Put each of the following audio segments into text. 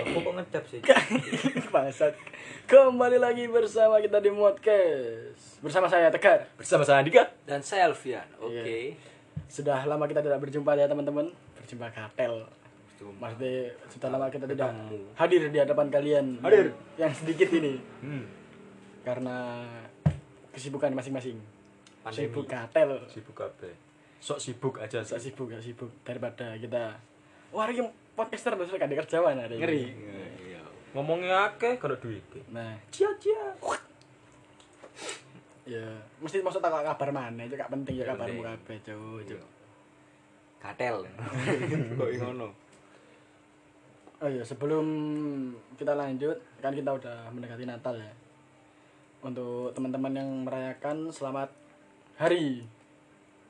kecap sih Bangsat. Kembali lagi bersama kita di Modcast. Bersama saya Tegar. bersama saya Andika Iya. dan saya Alfian oke Sudah lama kita tidak berjumpa ya teman-teman. Berjumpa kartel. Berjumpa. Maksudnya sudah lama kita tidak hadir di hadapan kalian. Hadir. Yang sedikit ini hmm. karena kesibukan masing-masing. Pandemi. Sibuk kartel. sibuk apa sok sibuk aja Gak sih sibuk, gak sibuk daripada kita. Wah, hari ini podcaster terus gak ada kerjaan hari ini. Ngeri. Iya. ngomongnya akeh kalau duit Nah, cia cia ya mesti maksud tak kabar mana itu gak penting ya Gak kabarmu penting. kabeh, Cuk, Cuk. katel kok ngono Oh iya, sebelum kita lanjut, kan kita udah mendekati Natal ya. Untuk teman-teman yang merayakan selamat hari.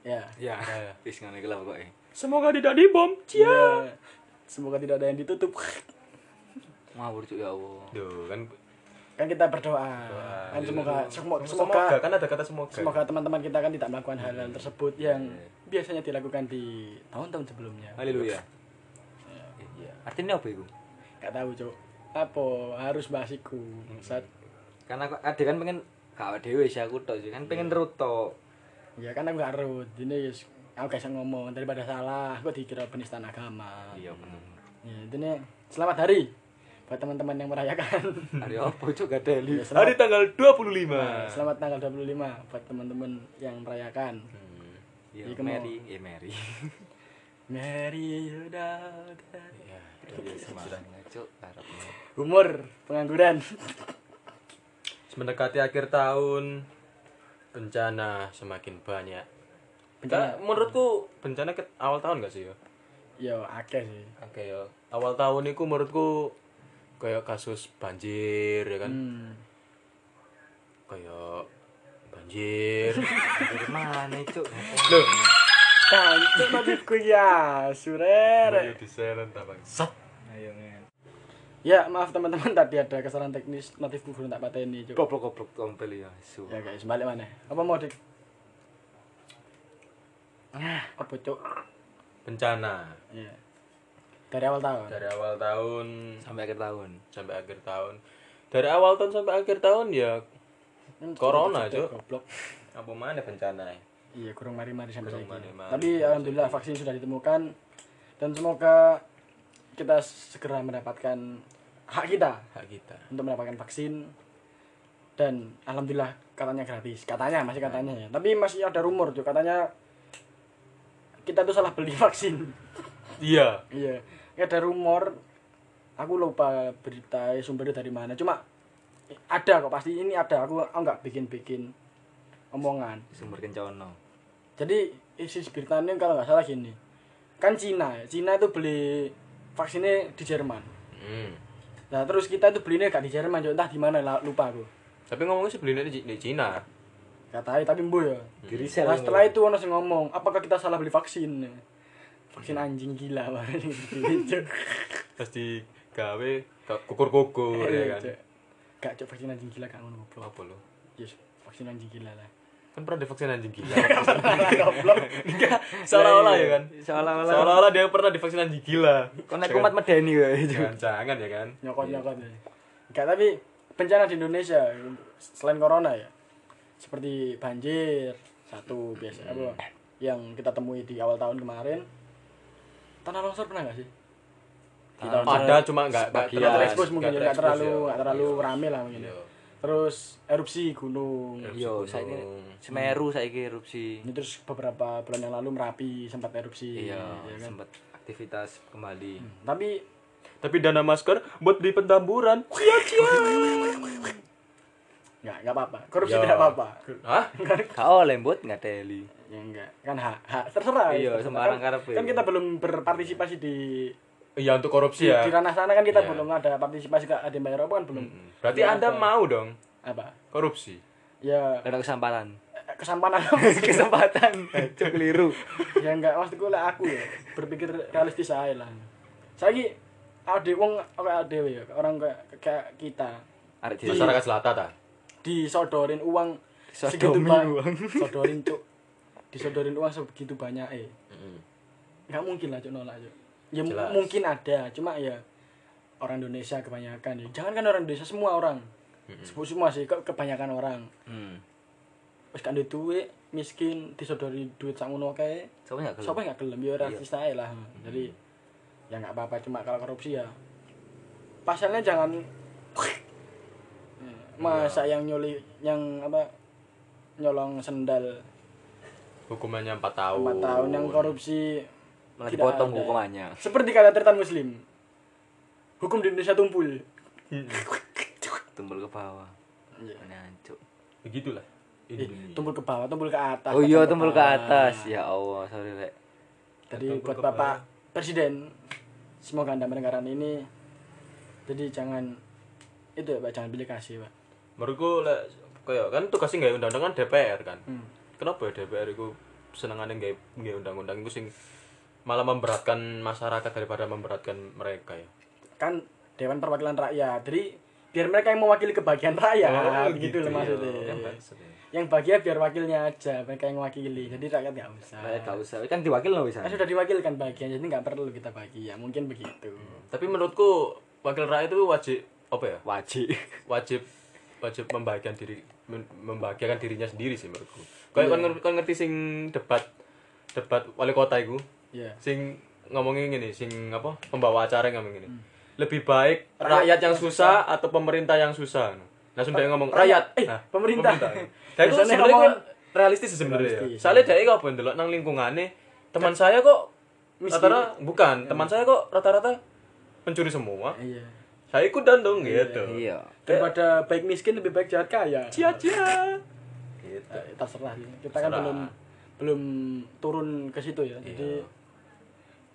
Ya. ya Iya. wis ngono iki lah pokoke semoga tidak dibom cia Ya. Semoga tidak ada yang ditutup. ngawur cuk ya Allah Duh, kan Kan kita berdoa. Kan semoga semoga semoga kan ada kata semoga semoga teman-teman kita kan tidak melakukan hal-hal tersebut yang biasanya dilakukan di tahun-tahun sebelumnya. haleluya Iya. artinya apa itu Gak tahu, Cuk. Apa harus basiku. Saat karena aku ade kan pengen gak dhewe sih aku tok sih kan pengen Iya. rut tok Ya kan aku gak rut, ini yes, aku gak bisa ngomong daripada salah, aku dikira penistaan agama. iya bener Ya, ini selamat hari buat teman-teman yang merayakan. hari apa cuk gak ada Ya, li hari selamat, tanggal 25 selamat tanggal 25 buat teman-teman yang merayakan. iya Iki mau- Mary eh Mary Merry Natal. ya, iya semangat cuk harapnya Umur pengangguran. mendekati akhir tahun bencana semakin banyak Bencana. Karena menurutku bencana ke awal tahun gak sih ya Yo, akeh sih. oke ya awal tahun itu menurutku kayak kasus banjir ya kan Hmm. kayak banjir dari mana cuk loh Tancuk nabibku ya, surere. di silent abang ayo ngen Ya, maaf teman-teman tadi ada kesalahan teknis, notifku belum tak pateni, Cuk. goblok goblok tompel ya su Ya guys, balik mana? Apa mau dik? Ah, apa cuk? bencana Iya. Dari awal tahun. dari awal tahun sampai akhir tahun sampai akhir tahun dari awal tahun sampai akhir tahun ya Hmm, corona, cuk. Cuk. Goblok. apa mana bencana ya? Iya, kurang mari-mari sampai Kurang saiki. mari-mari. Tapi alhamdulillah vaksin sudah ditemukan dan semoga kita segera mendapatkan hak kita hak kita untuk mendapatkan vaksin dan alhamdulillah katanya gratis katanya masih katanya Nah. ya tapi masih ada rumor tuh katanya kita tuh salah beli vaksin iya Iya, ini ada rumor. Aku lupa berita sumbernya dari mana. Cuma ada kok pasti ini ada. Aku aku nggak bikin-bikin omongan. sumber kencono Jadi isi beritanya kalau nggak salah gini. Kan Cina, ya. Cina itu beli vaksinnya di Jerman. hmm. Nah, terus kita itu belinya nggak di Jerman, Cuk. entah di mana lah, lupa aku. tapi ngomongnya sebelumnya di, di Cina Katanya tapi mbo ya. di resell Nah, setelah itu ono sing ngomong, apakah kita salah beli vaksin? Vaksin anjing gila, Cuk. pasti gawe kukur-kukur ya Iya, kan Cuk. Gak cok vaksin anjing gila gak ngono goblok. apa lo Yes, vaksin anjing gila lah. kan pernah divaksin anjing gila Goblok. seolah-olah ya kan Iya, Seolah-olah. seolah-olah dia pernah divaksin anjing gila Kau naik kumat medeni ya itu. jangan jangan ya kan Nyokot-nyokot. ya. Gak tapi bencana di Indonesia selain corona ya. Seperti banjir satu biasa Hmm. apa yang kita temui di awal tahun kemarin. Tanah longsor pernah gak sih? Di tahun ada cuma nggak nggak Sebagian. Tidak terlalu- terekspos mungkin Iya, nggak ya, nggak terlalu terekspos ya. nggak terlalu rame lah mungkin. ya. Iya. Terus erupsi gunung. Iya, Erupsi Yo, gunung. saya ini Semeru saya ini erupsi. Ini terus beberapa bulan yang lalu Merapi sempat erupsi. Iya, ya kan? Hmm, sempat aktivitas kembali. Tapi tapi dana masker buat beli pentamburan cia cia nggak nggak apa-apa. Korupsi Ya. tidak apa-apa. Hah? Gak oleh mbut nggak teli. Ya enggak. Kan hak hak terserah. Iya, terserah. sembarang kan, karepe. kan kita belum berpartisipasi di Iya untuk di, korupsi ya. di ranah sana kan kita Iya. belum ada partisipasi ke ada Mbak Eropa kan belum. Berarti Belum Anda ada. mau dong apa? korupsi. Ya Ada kesempatan. eh, kesampanan kesempatan. Cuk keliru. ya enggak maksudku lah aku ya berpikir realistis aja lah. Saiki ada wong kayak ada ya orang kayak kayak kita Arek di Masyarakat selatan ta. disodorin uang Sodomi ba- uang. sodorin cuk disodorin uang sebegitu banyak eh nggak mungkin lah cuk nolak cuk ya m- Jelas. mungkin ada cuma ya orang Indonesia kebanyakan ya. Jangan kan orang Indonesia semua orang. Hmm. Sebut semua sih ke- kebanyakan orang. Hmm. Wis kan duwe duit, miskin, disodori duit sak ngono kae. Siapa enggak Sopo nggak gelem ya ora artis ae lah. Jadi ya nggak apa-apa cuma kalau korupsi ya. Pasalnya jangan masa yang nyoli yang apa nyolong sendal Hukumannya 4 tahun. Iya. empat tahun yang korupsi Malah tidak dipotong ada. hukumannya. Seperti kata Tretan Muslim. Hukum di Indonesia tumpul. Tumpul ke bawah. Nah, Iya. Ini hancur. Begitulah. Eh, Indonesia. tumpul ke bawah, tumpul ke atas. Iya. Oh iya, tumpul tumpul ke atas. Ya Allah, sorry lek. Jadi Tumpul buat ke Bapak bawah. Presiden, semoga Anda mendengarkan ini. Jadi jangan itu ya Pak, jangan pilih kasih Pak. Menurutku lek kayak kan tugasnya nggak undang-undang kan DPR kan. Hmm. Kenapa ya DPR itu senengane nggak nggak undang-undang itu sing malah memberatkan masyarakat daripada memberatkan mereka ya. Kan Dewan Perwakilan Rakyat. Jadi biar mereka yang mewakili kebahagiaan rakyat Oh, gitu, ya. loh maksudnya. Kan maksudnya. Yang bahagia biar wakilnya aja, mereka yang mewakili. Jadi rakyat nggak usah. Lek Eh, gak usah. Kan diwakil lo bisa. Kan sudah diwakilkan bahagia, jadi nggak perlu kita bahagia. Mungkin begitu. Tapi menurutku wakil rakyat itu wajib apa ya? Wajib. wajib wajib membahagiakan diri mem- membahagiakan dirinya sendiri sih menurutku. Iya. Kayak kon ngerti, kon ngerti sing debat debat wali kota iku Iya. sing ngomongin gini sing apa pembawa acara ngomong gini. Lebih baik Hmm. rakyat yang susah atau pemerintah yang susah. Nah, sudah ngomong rakyat, eh, nah, pemerintah. Dan itu Biasanya sebenarnya ngomong- kan realistis sih sebenarnya. Kan Realistis. Soalnya dia kok ben delok nang lingkungane teman saya kok rata-rata bukan, teman saya kok rata-rata pencuri semua. Iya. Saya ikutan dong gitu. Iya. Daripada baik miskin lebih baik jahat kaya. cia-cia gitu Eh, terserah sih. Kita kan Terserah. belum belum turun ke situ ya. Jadi Iya.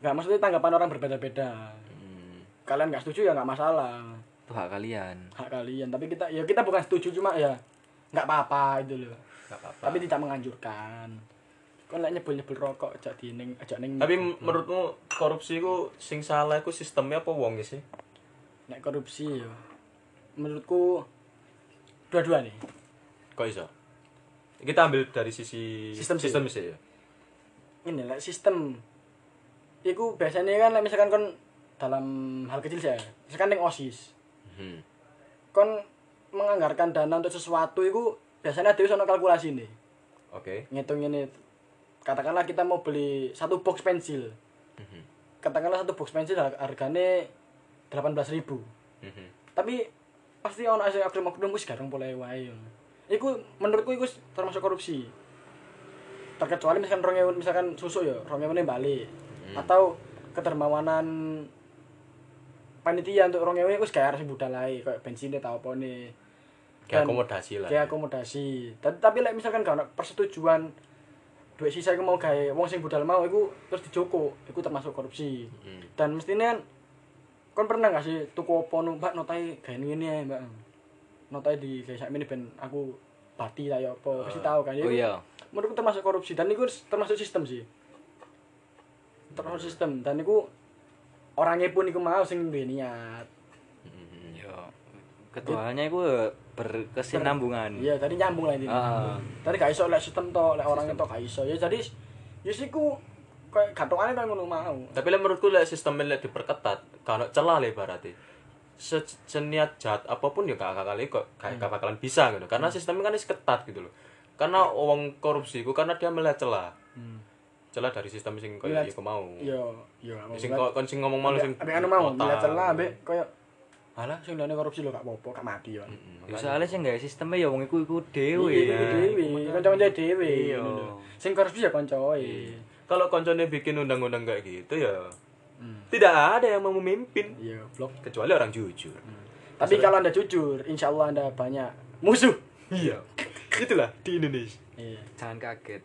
nggak maksudnya tanggapan orang berbeda-beda. Hmm. Kalian nggak setuju ya nggak masalah Tuh hak kalian. hak kalian. Tapi kita ya kita bukan setuju cuma ya nggak apa-apa itu loh. nggak apa-apa Tapi tidak menganjurkan. Kau nggak nyebul nyebul rokok ajak di neng ajak neng. tapi m- menurutmu korupsi ku sing salah ku sistemnya apa wong sih nek korupsi ya. Menurutku dua-dua nih. kok iso kita ambil dari sisi Sistem sih. sih ya ini lah sistem Iku biasanya kan like, misalkan kon dalam hal kecil saja misalkan yang osis hmm. kon menganggarkan dana untuk sesuatu itu biasanya ada sono kalkulasi nih oke ngitung ini katakanlah kita mau beli satu box pensil Mhm. katakanlah satu box pensil har- harganya 18.000 ribu Mhm. tapi pasti ono asing oknum oknum wis garung boleh wae iku menurutku iku termasuk korupsi terkecuali misalkan rong ewu- misalkan susu ya rong ewune balik Hmm. atau ketermawanan panitia untuk rong ewu wis gak harus budal ae koyo bensinnya tau apa nih kayak Dan- akomodasi lah kayak akomodasi Ta- tapi lek misalkan gak ono persetujuan duit sisa iku mau gawe wong sing budal mau iku terus dijoko iku termasuk korupsi Hmm. dan mestinya kan kon pernah gak sih tuku opo nu mbak notai gawe ngene ya mbak notai di gawe sakmene ben aku bati lah ya apa pasti tahu kan ya Oh iku iya. menurutku termasuk korupsi dan itu termasuk sistem sih termasuk sistem dan itu orangnya pun iku mau sing duwe niat Hmm. Iya. Ketuanya itu eh, Hmm. berkesinambungan. iya tadi nyambung lah ini Ah. tadi gak iso lek sistem to lek orangnya to gak iso ya jadi ya siku kayak gantungane kan ngono mau tapi lah menurutku lah sistemnya lah diperketat kalau celah lah berarti seniat jahat apapun ya gak kali kok kayak gak bakalan bisa gitu karena sistemnya kan is ketat gitu loh karena wong korupsi ku karena dia melihat celah celah dari sistem sing kayak Melihat- iku mau yo yo Hmm. Ya, sing kok kon sing ngomong malu sing Iya, Ambek anu mau otak. nilai celah ambek koyo Alah. sing liyane korupsi lho gak apa-apa gak mati yo. Ya, Soalnya sih nggak sistemnya ya wong iku iku Dewe, Iya. dhewe. dewe, kanca-kanca dhewe. Iya. ngono lho. Sing korupsi ya Iya. kancoe. Kalau koncone bikin undang-undang kayak gitu ya tidak ada yang mau memimpin Iya, blok. kecuali orang jujur. Tapi kalau Anda jujur, insya Allah Anda banyak musuh. Iya. Itulah di Indonesia. Iya, Jangan kaget.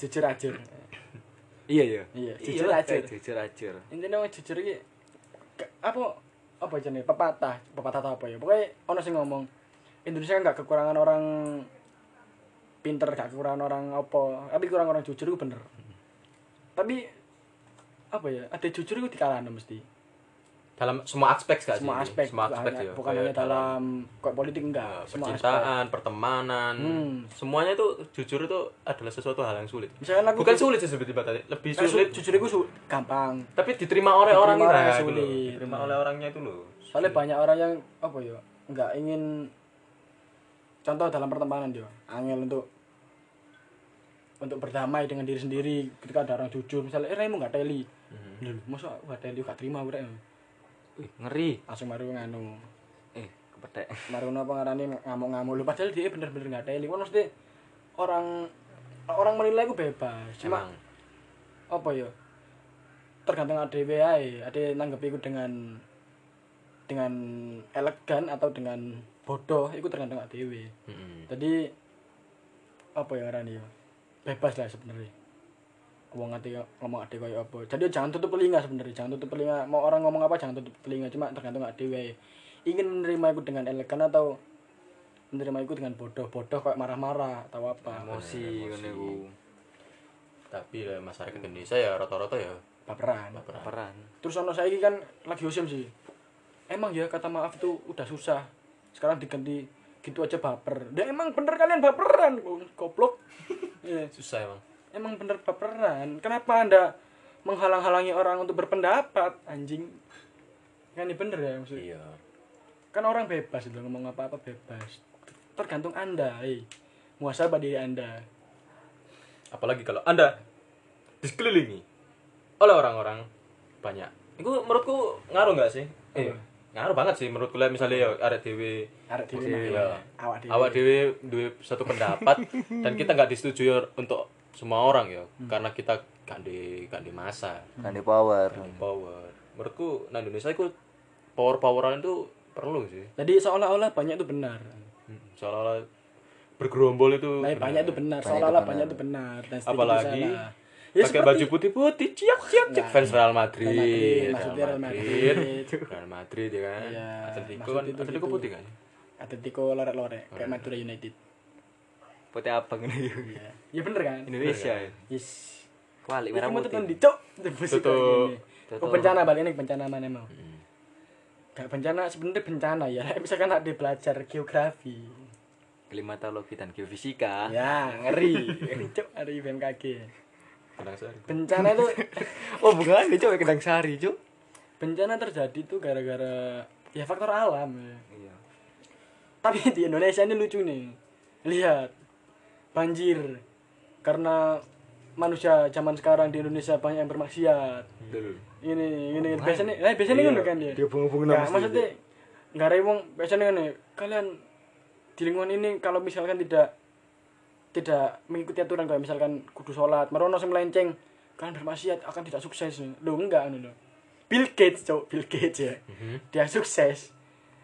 jujur aja. Iya iya. Iya, jujur Jujur aja. aja, jujur aja. Intinya wong jujur iki ke- apa apa jenenge pepatah, pepatah atau apa ya. Pokoknya ono sing ngomong Indonesia kan gak kekurangan orang pinter, gak kekurangan orang apa, tapi kurang orang jujur itu bener. Tapi apa ya, ada jujur itu dikalahno mesti. dalam semua aspek gak semua sih? aspek, bukan semua aspek hanya, ya bukan kayak hanya dalam kok politik enggak eh, semua aspek percintaan pertemanan Hmm. semuanya itu jujur itu adalah sesuatu hal yang sulit misalnya aku bukan ju- sulit sih sebetulnya tadi lebih nah, su- sulit jujur aku su- gampang tapi diterima oleh orang Diterima itu orang nah, itu loh. sulit. diterima oleh orangnya itu loh soalnya banyak orang yang apa ya nggak ingin contoh dalam pertemanan dia angel untuk untuk berdamai dengan diri sendiri ketika ada orang jujur misalnya eh Raimu nggak teli Lho, masa aku nggak teli nggak terima aku Raimu Wih, ngeri. langsung baru nganu Eh, kepedek. baru apa ngarani ngamuk-ngamuk lu padahal dia bener-bener nggak teli kan maksudnya orang orang menilai aku bebas cuma emang apa ya tergantung ADW ae ade nanggepi iku dengan dengan elegan atau dengan bodoh itu tergantung ADW Mm-mm. jadi apa ya ngarani ya bebas lah sebenarnya wong ati ngomong ade koyo apa jadi jangan tutup telinga sebenarnya jangan tutup telinga mau orang ngomong apa jangan tutup telinga cuma tergantung ADW ae. ingin menerima itu dengan elegan atau menerima itu dengan bodoh-bodoh kayak marah-marah atau apa Emosi ngene ku. tapi ya, masyarakat Indonesia ya rata-rata ya baperan Peran. Terus ono saiki kan lagi osim sih. Emang ya kata maaf itu udah susah. Sekarang diganti gitu aja baper. Ya emang bener kalian baperan, goblok. Iya, susah emang emang bener baperan. Kenapa Anda menghalang-halangi orang untuk berpendapat, anjing? Kan ini bener ya maksudnya. iya Kan orang bebas itu ngomong apa-apa bebas. Tergantung Anda, eh. Muasabah diri Anda. apalagi kalau anda dikelilingi oleh orang-orang banyak itu menurutku ngaruh nggak sih eh, ngaruh banget sih menurutku lah misalnya ya ada dewi Iya. Arek dhewe mah, Iya. awak dhewe. awak dewi dua satu pendapat dan kita nggak disetujui ya untuk semua orang ya Hmm. karena kita gandhi gandhi masa Kandi power. gandhi power menurutku nah Indonesia itu power poweran itu perlu sih Jadi seolah-olah banyak itu benar. Hmm, seolah-olah bergerombol itu Nah, banyak itu benar, seolah-olah banyak itu benar dan sedikit itu Apalagi salah. ya, pakai baju putih-putih ciak ciak ciak fans Real Madrid Real Madrid, maksudnya Real Real Madrid ya kan Iya, Atletico maksud kan itu Atletico gitu. putih kan Atletico lorek-lorek kayak Madura United. Putih abang ngene ku. Ya, ya bener kan? Indonesia. Yes. Kualik Merah merah mau tetap putih. di cok. Tebus itu Tutup. Hmm. gini. Oh bencana balik nih bencana mana mau? Gak bencana sebenarnya bencana ya. Misalkan ada belajar geografi. Klimatologi dan Ah. geofisika. Ya ngeri. Ngeri, Cok ada BMKG. Tenang sekali Bencana itu Oh, bukan ini cowok kedang sari, cuk. bencana terjadi tuh gara-gara ya faktor alam. Ya. Iya. Tapi di Indonesia ini lucu nih. Lihat. Banjir. Karena manusia zaman sekarang di Indonesia banyak yang bermaksiat. Ini ini biasanya eh biasanya ngono kan dia. Iya. Dia bunga-bunga Nggak, mesti maksudnya enggak ada wong biasanya ngono. Kalian di lingkungan ini kalau misalkan tidak tidak mengikuti aturan kayak misalkan kudu sholat, merono sing melenceng, kalian bermaksiat akan tidak sukses. Loh enggak anu loh. Bill Gates, cowok Bill Gates ya. Mhm. Dia sukses.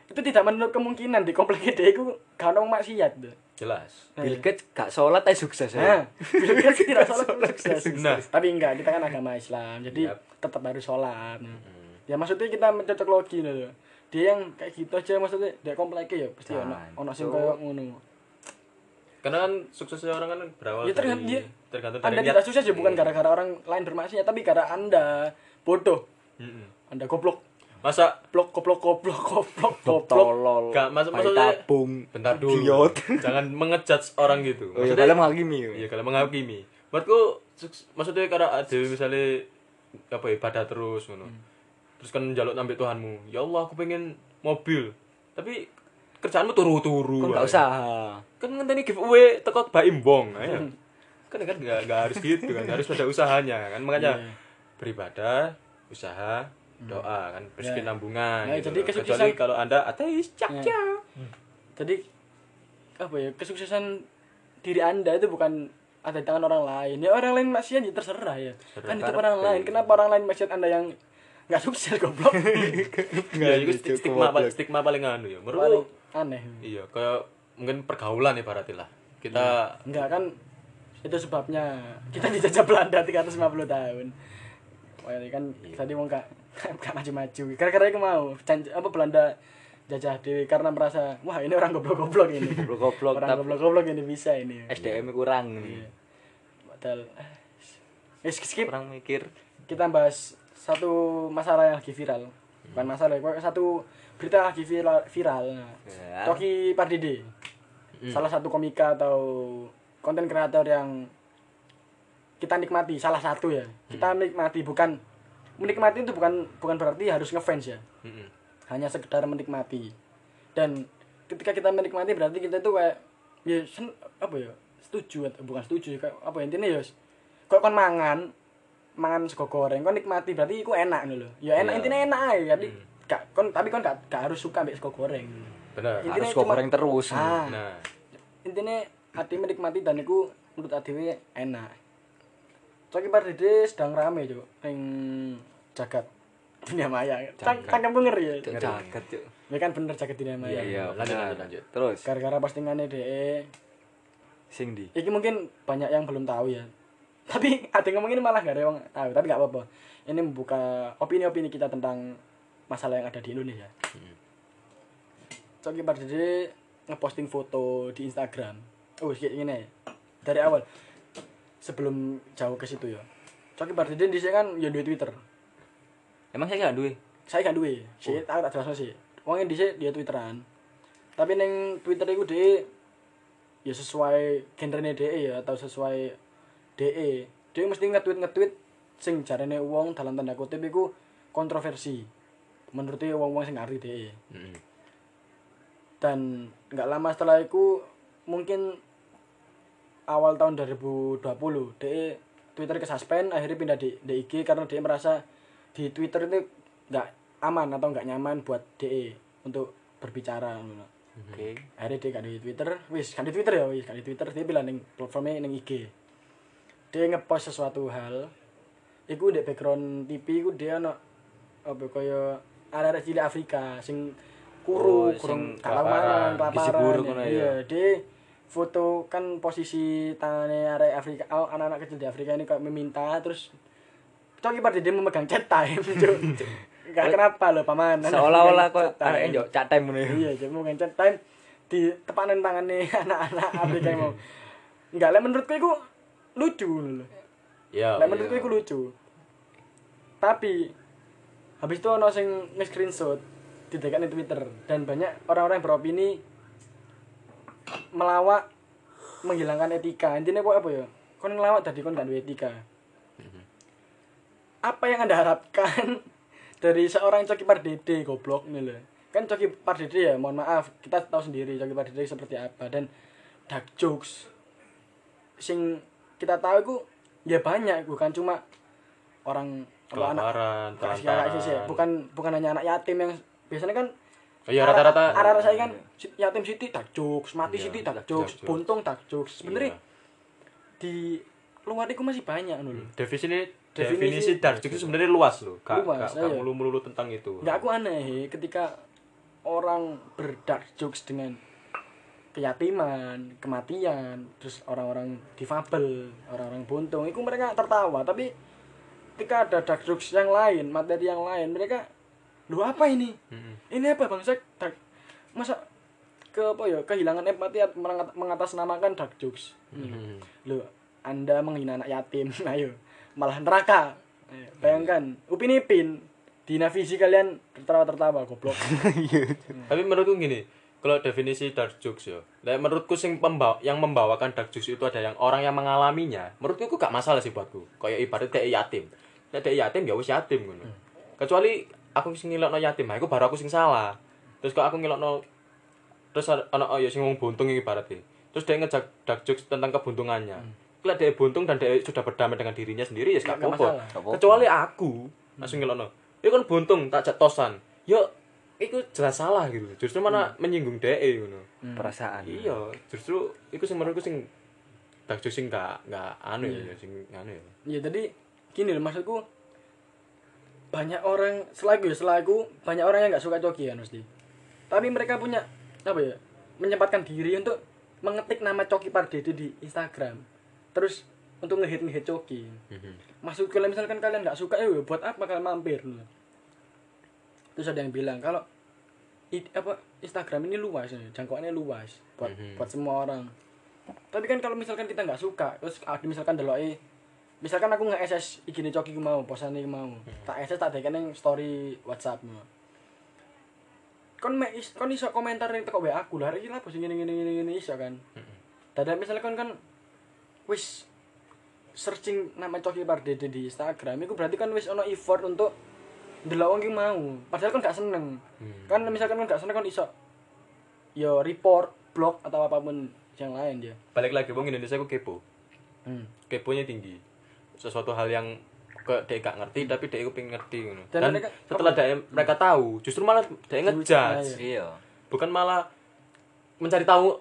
Itu tidak menutup kemungkinan di komplek dia itu gak ada orang maksiat. Nah, tuh. jelas Bill Gates gak sholat aja sukses Nah, ya. Bill Gates tidak sholat pun sukses. Nah. Tapi enggak, kita kan agama Islam, jadi Yap. tetap harus sholat. Hmm. Ya maksudnya kita mencocok logi gitu. Dia yang kayak gitu aja maksudnya dia kompleknya ya pasti ono ono sing Jancuk. koyo ngono. karena kan suksesnya orang kan berawal Ya tergantung dari dia. tergantung dari Anda tidak sukses ya bukan gara-gara orang lain bermaksiat, tapi gara Anda bodoh. Mm-mm. Anda goblok, masa blok goblok goblok goblok goblok. Tolol. Gak, maksud- bayi maksudnya- tabung. bentar dulu Idiot. iya, jangan mengejudge orang gitu Oh, iya, Maksudnya- kalian menghakimi. ya? Iya kalau menghakimi. Menurutku suks- maksudnya karena ada misalnya apa ya, ibadah terus ngono. Hmm. Terus kan njaluk nambah Tuhanmu. Ya Allah aku pengen mobil. Tapi kerjaanmu turu-turu. Kok gak wae. usaha. Kan ngenteni giveaway teko Mbak Imbong. ayo. Hmm. kan kan gak, gak harus gitu kan harus ada usahanya kan Iya, makanya beribadah, usaha, doa kan Iya. bersihin nambungan. Nah, gitu jadi loh. kesuksesan- Kecuali kalau Anda ateis Iya. cak cak. Jadi apa ya kesuksesan diri Anda itu bukan ada di tangan orang lain. Ya orang lain maksiat ya terserah ya. Kan itu orang lain. Kenapa orang lain maksiat Anda yang nggak sukses goblok? Iya, Ya, itu sti- stigma paling stigma paling anu ya. Paling Menurutku aneh. Iya, kayak mungkin pergaulan ya lah. Kita Enggak kan itu sebabnya kita dijajah Belanda 350 tahun. Wah, ini kan tadi mau nggak nggak maju-maju. Karena itu mau Jan- apa Belanda jajah dewi karena merasa wah ini orang goblok-goblok ini. Goblok-goblok, orang tapi- goblok-goblok ini bisa ini. SDM kurang. Padahal ah, wis, skip Iya. Kurang mikir. kita bahas satu masalah yang lagi viral Hmm. bukan masalah Kayak satu berita lagi viral, viral. Nah. Ya. Hmm. Toki Pardede salah satu komika atau konten kreator yang kita nikmati salah satu ya kita Hmm. nikmati bukan menikmati itu bukan bukan berarti harus ngefans ya Mm-mm. hanya sekedar menikmati dan ketika kita menikmati berarti kita itu kayak ya sen- apa ya setuju atau bukan setuju kayak apa ya, intinya ya kok kon mangan mangan sego goreng kon nikmati berarti iku enak ngono lho ya enak Iya. Hmm. intinya enak ae jadi gak kon tapi kon gak, gak harus suka ambek sego goreng bener Intinya harus kok cuma- goreng terus ah nah intinya ati menikmati dan iku menurut adewe enak Coki Pardede sedang rame cok ning jagat dunia maya Cang- cangkemku ngeri ya Cuk, jagat cuk ya kan bener jagat dunia maya iya lanjut, benar. lanjut, lanjut. terus gara-gara postingannya DE sing di iki mungkin banyak yang belum tahu ya tapi ada yang ngomongin malah gak ada yang tahu tapi gak apa-apa ini membuka opini-opini kita tentang masalah yang ada di Indonesia Coki Pardede ngeposting foto di Instagram oh kayak gini ya. dari awal sebelum jauh ke situ ya Coki Pardede di sini kan ya duwe Twitter emang saya gak duwe saya gak duwe sih aku tak jelas sih uangnya di sini dia twitteran tapi neng twitter itu dia ya sesuai genrenya dia ya atau sesuai DE dia mesti nge-tweet nge-tweet sing jarene uang dalam tanda kutip itu kontroversi menurut dia uang-uang sing ngerti DE Mm-mm. dan nggak lama setelah itu mungkin awal tahun 2020 DE E Twitter ke suspend akhirnya pindah di, di IG karena DE merasa di Twitter itu nggak aman atau nggak nyaman buat DE untuk berbicara ngono. oke akhirnya DE gak di Twitter wis gak di Twitter ya wis gak di Twitter dia bilang neng platformnya neng IG DE ngepost sesuatu hal iku di background TV iku dia ono apa kaya arek-arek cilik Afrika sing Oh, kuru sing kurung kelaparan kelaparan, gizi kelaparan buruk ngono ya. iya dia foto kan posisi tangannya arek Afrika oh, anak-anak kecil di Afrika ini kayak meminta terus Coki Pardede memegang chat time Cuk. Gak kenapa loh paman Kan- seolah-olah kok Chat time. anaknya njok cat time ngene iya jadi memegang chat time di tepanin tangannya anak-anak Afrika yang mau enggak lah menurutku itu lucu loh ya Lek menurutku itu lucu. Tapi habis itu ono sing nge-screenshot di dekatnya Twitter dan banyak orang-orang yang beropini melawak menghilangkan etika. Intinya kok apa ya? Kon ngelawak tadi kon gak duwe etika. Apa yang Anda harapkan dari seorang Coki Pardede goblok nih loh. Kan Coki Pardede ya, mohon maaf, kita tahu sendiri Coki Pardede seperti apa dan dark jokes sing kita tahu itu ya banyak bukan cuma orang apa, anak kelaparan kasih anak gitu sih sih. telantaran bukan bukan hanya anak yatim yang biasanya kan Iya, rata-rata. arah saya kan si- yatim siti tak jokes mati Iya, siti tak dark jokes jokes. buntung tak jokes sebenarnya Iya. di luar itu masih banyak dulu definisi Definisi- definisi dark jokes itu sebenarnya luas loh gak Luas, gak- gak iya. melulu melulu tentang itu nggak aku aneh ketika orang berdark jokes dengan keyatiman, kematian, terus orang-orang difabel, orang-orang buntung, itu mereka tertawa. Tapi ketika ada dark jokes yang lain, materi yang lain, mereka lu apa ini? Mm-mm. Ini apa bangsa dark? Masa ke apa ya kehilangan empati at- mengat- mengatasnamakan dark jokes? Mm-mm. Loh, Anda menghina anak yatim, ayo. Malah neraka. Ayo, Bayangkan, Upin Ipin, dihina visi kalian tertawa-tertawa, goblok. tapi menurutku gini kalau definisi dark jokes ya Lek menurutku sing pembawa, yang membawakan dark jokes itu ada yang orang yang mengalaminya menurutku itu gak masalah sih buatku kayak ibarat kayak yatim Lek dek yatim ya wis yatim ngono kecuali aku sing ngilokno yatim aku baru aku sing salah terus kok aku ngilokno terus ada- ana oh ya sing wong buntung iki ibaratnya terus dia ngejak dark jokes tentang kebuntungannya kalau dia buntung dan dia sudah berdamai dengan dirinya sendiri Hmm. ya Gak gak apa-apa masalah. Gak apa-apa. kecuali aku langsung ngelono ya kan buntung tak jak tosan ya itu jelas salah gitu justru mana menyinggung dia gitu Hmm. perasaan iya justru itu sing menurutku sing dark jokes sing gak gak anu ya sing anu ya ya tadi gini loh maksudku banyak orang selaku ya selaku banyak orang yang nggak suka coki kan pasti tapi mereka punya apa ya menyempatkan diri untuk mengetik nama coki pardede di Instagram terus untuk ngehit ngehit coki maksud kalau misalkan kalian nggak suka ya buat apa kalian mampir terus ada yang bilang kalau i- apa Instagram ini luas ya, jangkauannya luas buat buat semua orang tapi kan kalau misalkan kita nggak suka terus ah, misalkan delok misalkan aku nggak SS igine coki ku mau posane ku mau tak SS tak dekene ning story WhatsApp mu. kon me is, kon iso komentar ning teko WA aku lha iki lha bos ngene ngene ngene ngene iso kan dadak misalnya kon kan wis searching nama coki pardede di Instagram itu berarti kan wis ono effort untuk ndelok wong ki mau padahal kan gak seneng Hmm. kan misalkan kan gak seneng kan iso yo report blog atau apapun yang lain dia balik lagi wong Indonesia ku kepo hmm. keponya tinggi sesuatu hal yang ke dia gak ngerti tapi dia itu pengen ngerti ngono. Dan dan, mereka- setelah dia mereka tahu justru malah dia ngejudge Iya. bukan malah mencari tahu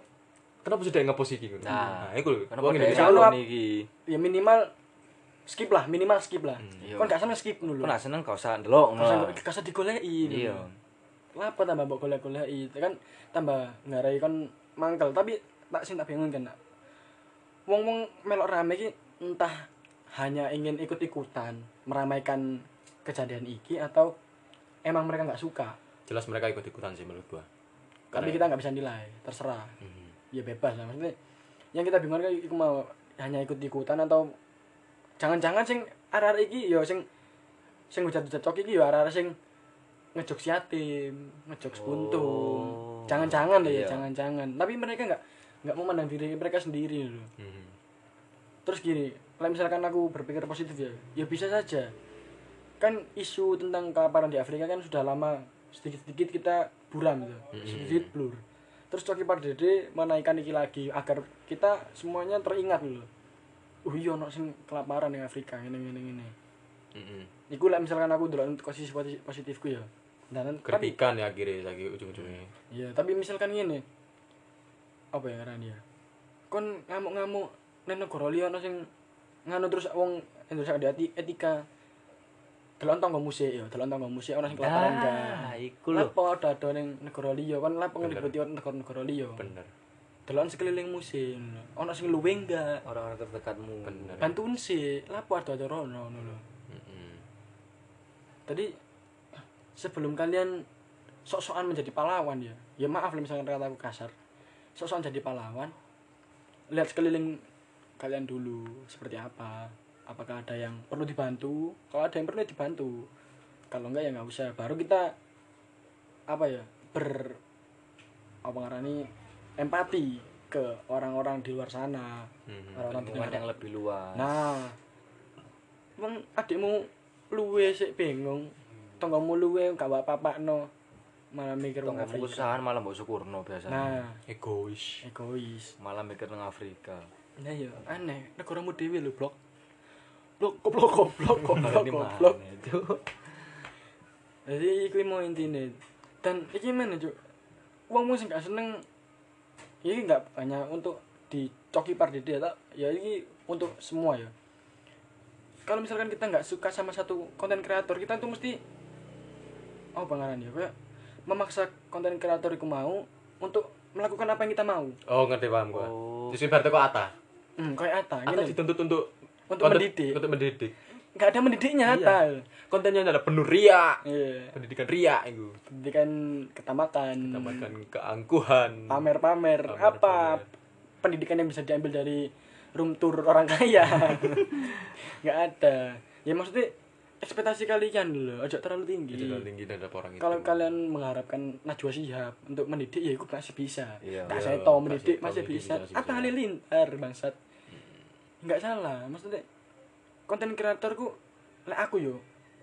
kenapa sudah ngepost iki ngono. Nah, nah iku lho Karena wong pada Indonesia Indonesia calon lu- iki. ya minimal skip lah minimal skip lah Hmm, Iya. kon gak seneng skip dulu Kok nak seneng gak usah ndelok ngono. Kasih kasih digoleki. Iya. Apa tambah mbok golek-goleki? Kan tambah ngarai kon mangkel, tapi tak sing tak bingung kan. Nak. Wong-wong melok rame iki entah hanya ingin ikut-ikutan meramaikan kejadian iki atau emang mereka nggak suka. jelas mereka ikut ikutan sih menurut gua Tapi Karena- kita nggak bisa nilai, terserah. Mhm. Ya bebas lah maksudnya. Yang kita bingung kan iku mau hanya ikut-ikutan atau jangan-jangan sing arah iki ya sing sing hujat-hujat cok iki ya arah sing ngejok siatim, ngejok sepuntung. Oh. Jangan-jangan deh Iya. ya, jangan-jangan. Tapi mereka nggak nggak mau mandang diri mereka sendiri loh. Mhm. Terus gini, kalau misalkan aku berpikir positif ya, ya bisa saja. Kan isu tentang kelaparan di Afrika kan sudah lama sedikit-sedikit kita buram gitu, sedikit blur. Terus Coki Pardede menaikkan iki lagi agar kita semuanya teringat loh. Oh iya, ono sing kelaparan di Afrika, ini ini ini. Mhm. Iku lah misalkan aku dulu untuk sisi posi- positifku ya. Dan tapi, kritikan ya akhirnya lagi ujung-ujungnya ya tapi misalkan gini, apa ya karena dia, kon ngamuk-ngamuk neng negara liya ono sing nganu terus wong Indonesia ada eti- etika. Delok tangga musik ya, delok tangga musik ono sing kelaparan Nah, enggak. Ah, iku lho. Lapo dado ning negara liya, kon lapo ngelibuti negara-negara liya. bener Delok sekeliling musik, ono sing luwih enggak. Orang-orang terdekatmu. Bener. Bantuin sih, lapo ada acara ono ngono lho. Mhm. tadi sebelum kalian sok-sokan menjadi pahlawan ya ya maaf lah misalkan kata aku kasar sok-sokan jadi pahlawan lihat sekeliling kalian dulu seperti apa apakah ada yang perlu dibantu kalau ada yang perlu ya dibantu kalau enggak ya nggak usah baru kita apa ya ber apa ngarani empati ke orang-orang di luar sana Mhm. orang-orang di Lingkungan negara yang lebih luas. Nah. Wong adikmu luwe sik bingung. Tonggomu luwe gak apa-apakno. Malah mikir wong Tonggo Afrika. kusahan malah Mbok Sukurno biasanya. Nah, egois egois. Malah mikir nang Afrika. Nah ya, aneh. Negaramu dhewe lho, Blok. Blok goblok goblok goblok goblok. itu? Jadi iku mau intine. Dan iki men Cuk. Wong sing gak seneng iki gak hanya untuk di coki pardede ya, tak? ya ini untuk semua ya. Kalau misalkan kita nggak suka sama satu konten kreator, kita tuh mesti oh pengaran ya, kayak memaksa konten kreator itu mau untuk melakukan apa yang kita mau. oh ngerti paham gua Oh. justru berarti kok Ata Hmm, kayak Ata, Ata gini. dituntut untuk Untuk konten- mendidik. untuk mendidik Nggak ada mendidiknya Ata. kontennya adalah penuh ria Iya. pendidikan ria itu Pendidikan ketamakan. tambahkan keangkuhan pamer-pamer apa pendidikan yang bisa diambil dari room tour orang kaya nggak ada ya maksudnya ekspektasi kalian loh aja terlalu tinggi itu adalah tinggi terhadap orang itu kalau kalian mengharapkan Najwa Shihab untuk mendidik ya itu masih bisa Iya, tak iya, saya tahu Tak mendidik Seto masih mendidik bisa masih apa bisa. halilintar bangsat nggak salah maksudnya konten kreatorku lah aku yo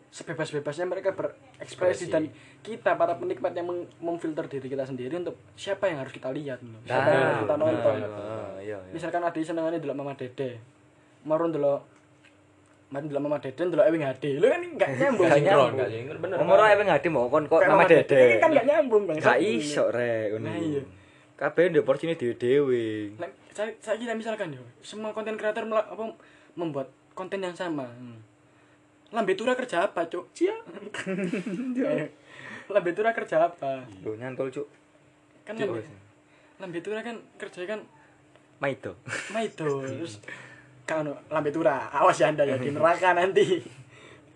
sebebas-bebasnya mereka berekspresi Ekspresi. dan kita para penikmat yang meng- memfilter diri kita sendiri untuk siapa yang harus kita lihat loh. Nah, siapa yang harus kita nah, nonton gitu. nah, Iya, iya. misalkan ada senengannya delok Mama Dede marun delok Mati delok Mama Dede delok Ewing HD. Lu kan nggak nyambung. Gak sinkron gak sinkron bener Ngomong ora ewing ngadi mau kon kok Kayak nama Ini dede. kan nggak nyambung, Bang. Gak iso rek ngono. Nah, iya. Kabeh ndek porsinya dhewe-dhewe. Lem- saya saya kira misalkan yo semua konten kreator mela- apa membuat konten yang sama hmm. lambe tura kerja apa cok cia Eh, lambe tura kerja apa Lho nyantol cuk. kan lambe, lambe tura kan kerja kan Maido. nah itu terus kan lambe tura awas ya anda ya di neraka nanti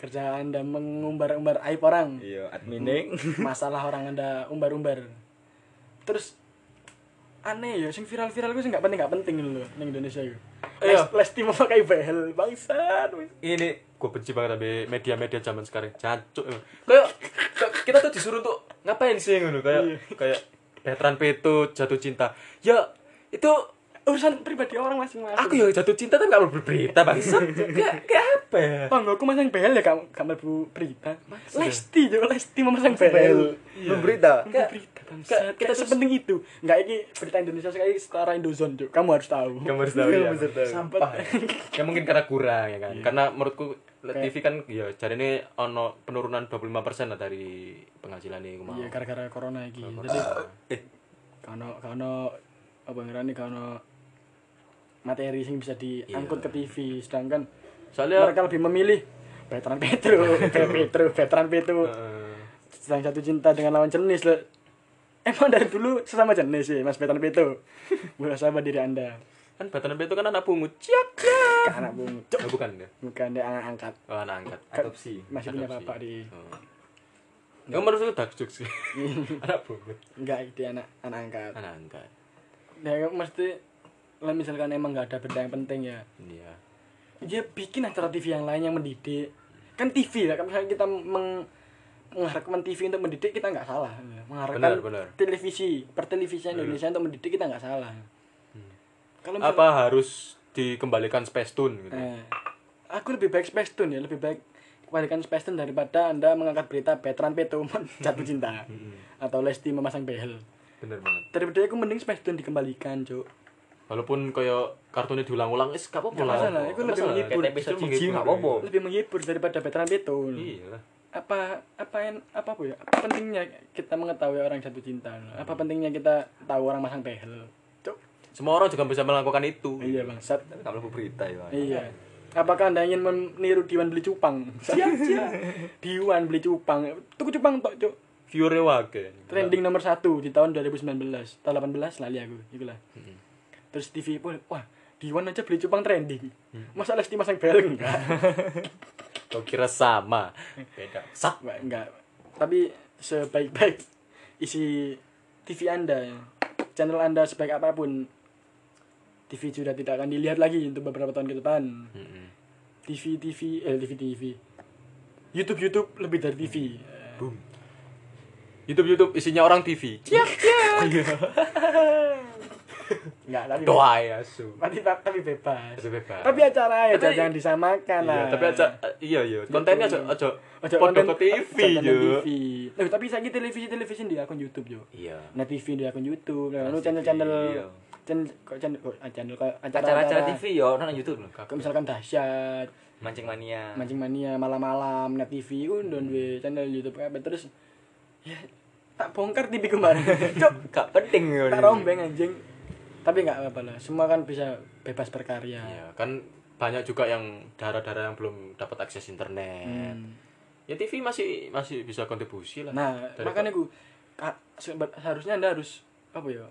kerja anda mengumbar-umbar aib orang Iya, admine. masalah orang anda umbar-umbar terus aneh ya sing viral-viral gue sing gak penting gak penting lho ning Indonesia yo. Iya. Les, Lesti memakai behel bangsat wis. ini gue benci banget tapi media-media zaman sekarang jancuk emang. kayak kayak kita tuh disuruh untuk ngapain sih ngono Iya. kayak kayak Betran Peto jatuh cinta ya itu Urusan pribadi orang masing-masing. aku ya jatuh cinta tapi gak mau berberita bangsa kayak kayak apa ya Tanggaku masang behel ya gak gak mlebu berita. Lesti yo Lesti memasang behel. Memberita. Kayak berita bangsat. Kita sepenting itu. Enggak ini berita Indonesia sekali setara Indozone, Cuk. Kamu harus tahu. Iya, kamu harus tahu ya Kamu harus tahu. Sampah. ya mungkin karena kurang ya Iya. kan karena menurutku TV kan ya jadi ini ono penurunan 25% lah dari penghasilan ini Iya, kumaha. gara-gara corona iki. Jadi eh kono kono apa ngerani kono materi sing bisa diangkut ke TV sedangkan Soalnya- mereka lebih memilih veteran Petro, Pe- Petro, veteran Petro. eh, Sedang satu cinta dengan lawan jenis loh. Emang dari dulu sesama jenis sih, Mas Veteran Petro. Muhasabah diri Anda. kan Betran Peto kan anak pungut ciak ciak. Ke anak bung, Oh, bukan ya bukan dia anak angkat. oh, anak angkat adopsi Masih punya Adopsi. bapak di Oh. Ya menurut lu dark jokes sih. Anak bungut. enggak dia anak anak angkat. Anak angkat. Ya mesti lah misalkan emang nggak ada benda yang penting ya Iya. dia bikin acara TV yang lain yang mendidik kan TV lah kan misalnya kita meng mengharapkan TV untuk mendidik kita nggak salah mengharapkan Benar, benar. televisi pertelevisian Indonesia untuk mendidik kita nggak salah kalau misalnya- Apa harus dikembalikan Space Tune gitu? eh, aku lebih baik Space Tune ya lebih baik kembalikan Space Tune daripada anda mengangkat berita veteran Peto jatuh cinta atau Lesti memasang behel Bener banget. daripada aku mending Space Tune dikembalikan cuk Walaupun kayak kartunnya diulang-ulang, is gak apa-apa Gak lah. masalah, itu lebih Gak masalah. menghibur. Kayak gitu. episode Bisa menghibur. jijik, gak apa-apa. lebih menghibur daripada veteran Peto Iya lah. apa apa yang apa bu ya apa pentingnya kita mengetahui orang jatuh cinta apa pentingnya kita tahu orang masang behel cuk Semua orang juga bisa melakukan itu. iya bangsat tapi kamu berita ya iya apakah anda ingin meniru Diwan beli cupang siap siap Diwan beli cupang tuku cupang tok cuk Viewernya wake. trending nomor satu di tahun 2019 tahun 18 lali aku itulah terus TV pun wah Diwan aja beli cupang trending masa Lesti masang behel enggak Kau kira sama. Beda. Sak. enggak enggak tapi sebaik-baik isi TV anda ya. channel anda sebaik apapun TV sudah tidak akan dilihat lagi untuk beberapa tahun ke depan Mm-mm. TV TV eh TV TV YouTube YouTube lebih dari TV Boom. YouTube YouTube isinya orang TV. Iya. Ciak enggak tapi doa ya su. tapi, tapi bebas Tapi bebas. tapi acara ya Tapi- jangan disamakan Iya, lah tapi aja iya iya, kontennya aja aja Ojo podo konten- ke TV ojo konten yo. TV. Eh, tapi saya televisi televisi di akun YouTube yo Iya. Nah TV di akun YouTube, Nah, lalu Trans channel TV, channel iya. channel kok channel kok ah, channel kok acara-acara TV ya nonton YouTube loh Kayak misalkan dahsyat, mancing mania mancing mania malam-malam net TV undon Hmm. we channel YouTube kabeh terus ya tak bongkar TV kemarin. Cok, gak penting ya tak rombeng anjing. Tapi nggak apa-apa lah, semua kan bisa bebas berkarya. Iya, kan banyak juga yang daerah-daerah yang belum dapat akses internet. Hmm. Ya TV masih masih bisa kontribusi lah. Nah, Dari- makanya gue harusnya Anda harus apa ya?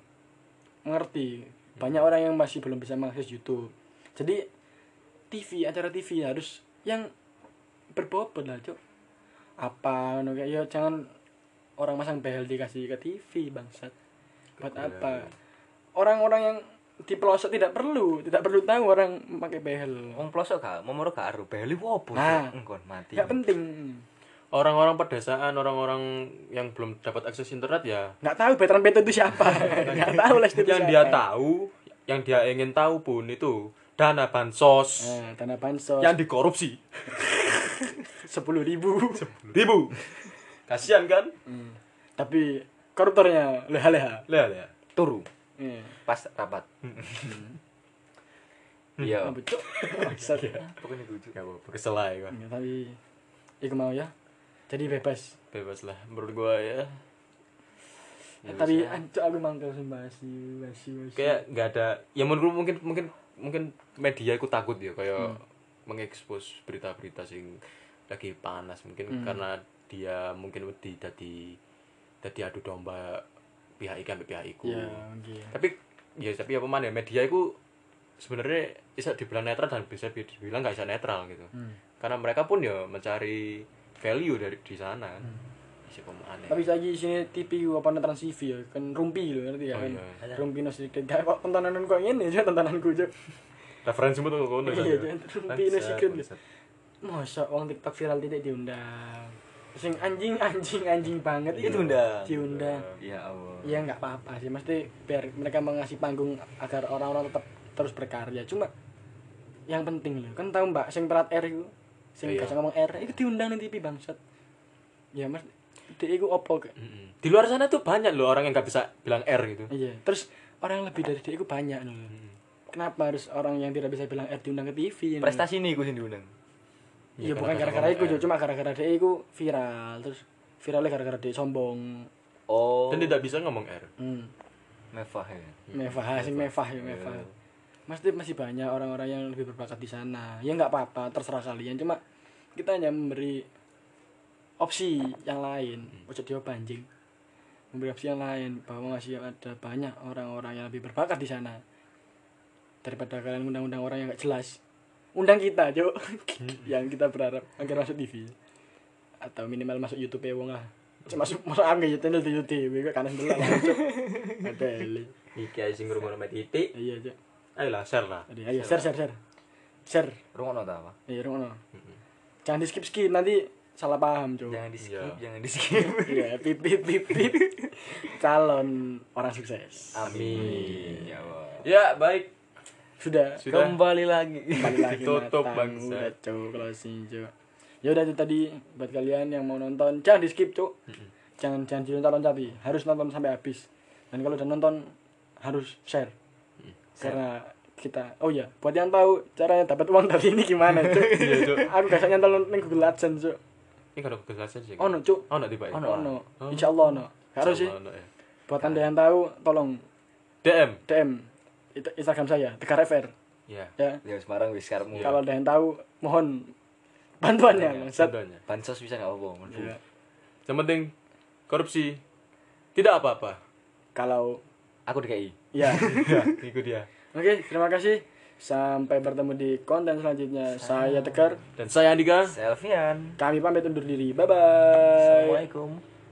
Mengerti. Hmm. Banyak orang yang masih belum bisa mengakses YouTube. Jadi TV, acara TV harus yang berbobot lah, Cok. Apa ngono kayak ya jangan orang masang behel dikasih ke TV, bangsat. Buat Kegulaan. apa? Orang-orang yang di pelosok tidak perlu, tidak perlu tahu orang pakai behel. Wong pelosok gak, momoro gak aru, beli wopo Nah. engkon mati. Nggak penting. Orang-orang pedesaan, orang-orang yang belum dapat akses internet ya Nggak tahu veteran PT itu siapa. Nggak tahu lah itu yang siapa. dia tahu, yang dia ingin tahu pun itu dana bansos Nah, dana bansos yang dikorupsi. sepuluh ribu. Ribu. Kasihan kan? Tapi koruptornya leha-leha. Lihat ya. Turu Hmm. Iya. pas rapat. Hmm. Iya. Nah, becok. Bangsat. Iya. Pokoknya gue juga. Gak apa-apa, kesel aja gua. Iya, Tapi iku mau ya. Jadi bebas. Bebas lah menurut gua ya. Eh, tapi anjuk aku mangkel sumpah sih, masih Iya, kayak nggak ada ya menurut mungkin mungkin mungkin media ikut takut ya Hmm. kayak mengekspos berita-berita sing lagi panas Hmm. mungkin karena dia mungkin wedi tadi tadi adu domba pihak ikan pihak iku Ya, mungkin. tapi ya tapi apa mana ya, media itu sebenarnya bisa dibilang netral dan bisa Hmm. dibilang Hmm. Hmm. nggak bisa netral gitu karena mereka pun ya mencari value dari di sana kan. sih kamu aneh Tapi saiki sini TV ku apa Trans TV ya, kan rumpi lho ngerti ya Oh, kan. iya, iya. Rumpi no sedikit gak kok tontonanan kok ngene aja tontonanku aja. referensimu tuh kono Iya, kan, ya? jangan terumpi, ini Bangsat, secret. bangsat. Masa uang TikTok viral tidak diundang. Sing anjing anjing anjing banget Iya, itu diundang. Diundang. ya Allah Ya nggak apa-apa sih, mesti biar mereka mengasih panggung agar orang-orang tetap terus berkarya. Cuma yang penting loh, kan tahu Mbak sing perat R itu, sing gak Iya. usah ngomong R, itu diundang di TV bangsat. Ya Mas, dia itu opo ke? Mm-mm. di luar sana tuh banyak loh orang yang nggak bisa bilang R gitu Iya. Terus orang yang lebih dari dia itu banyak loh. Kenapa harus orang yang tidak bisa bilang R diundang ke TV? loh? prestasi nih gue sih diundang Iya Ya, bukan gara-gara gara-gara itu, ngomong R. cuma gara-gara dia itu viral. Terus viralnya gara-gara dia sombong. oh dan tidak bisa ngomong R Hmm. mevah ya Mevah, sing mevah ya mevah. Masih masih banyak orang-orang yang lebih berbakat di sana. Ya nggak apa-apa, terserah kalian. Cuma kita hanya memberi opsi yang lain. Ojo dia anjing. Memberi opsi yang lain bahwa masih ada banyak orang-orang yang lebih berbakat di sana. Daripada kalian undang-undang orang yang nggak jelas. Undang kita, Jo. yang kita berharap agar masuk TV. Atau minimal masuk YouTube ya wong lah. Cuma masuk masuk angin ya channel di YouTube, gue kanan dulu. Ada eli. iki aja sing rumah nama titik Iya, Jo. ayolah share lah Tadi ayo share share share. Share. rumah nota apa Iya, ngono. Jangan di skip skip nanti salah paham, Cuk. jangan di skip Iya. jangan di skip Iya, pip pip pip pip. Calon orang sukses. amin ya Allah ya baik Sudah Sudah. kembali lagi kembali lagi Tutup, matang. bangsa. Udah, Cuk, closing, Cuk. Ya udah itu tadi buat kalian yang mau nonton, jangan di skip, Cuk. Jangan jangan dilontar-lontar, Pi. harus nonton sampai habis. Dan kalau udah nonton harus share. Karena kita oh iya, buat yang tahu caranya dapat uang dari ini gimana, Cuk. Iya, Cuk. Aku gak nyantol ning Google AdSense, Cuk. ini kalau kejelasan sih Oh no, Cuk. oh no tiba ya Ono. Oh no. Insya Allah no. Harus sih. Ono, ya. Buat anda yang tahu, tolong DM DM It- Instagram saya Tegar FR ya ya. ya semarang wis karepmu Kalau ada yang tahu, mohon Iya, bantuannya. Bangsat. contohnya bansos bisa nggak apa-apa menurut Ya. yang penting korupsi tidak apa-apa Kalau aku DKI ya. ya itu dia Oke, terima kasih. Sampai bertemu di konten selanjutnya. Saya Tegar. dan saya Andika Selvian Kami pamit undur diri. Bye bye. Assalamualaikum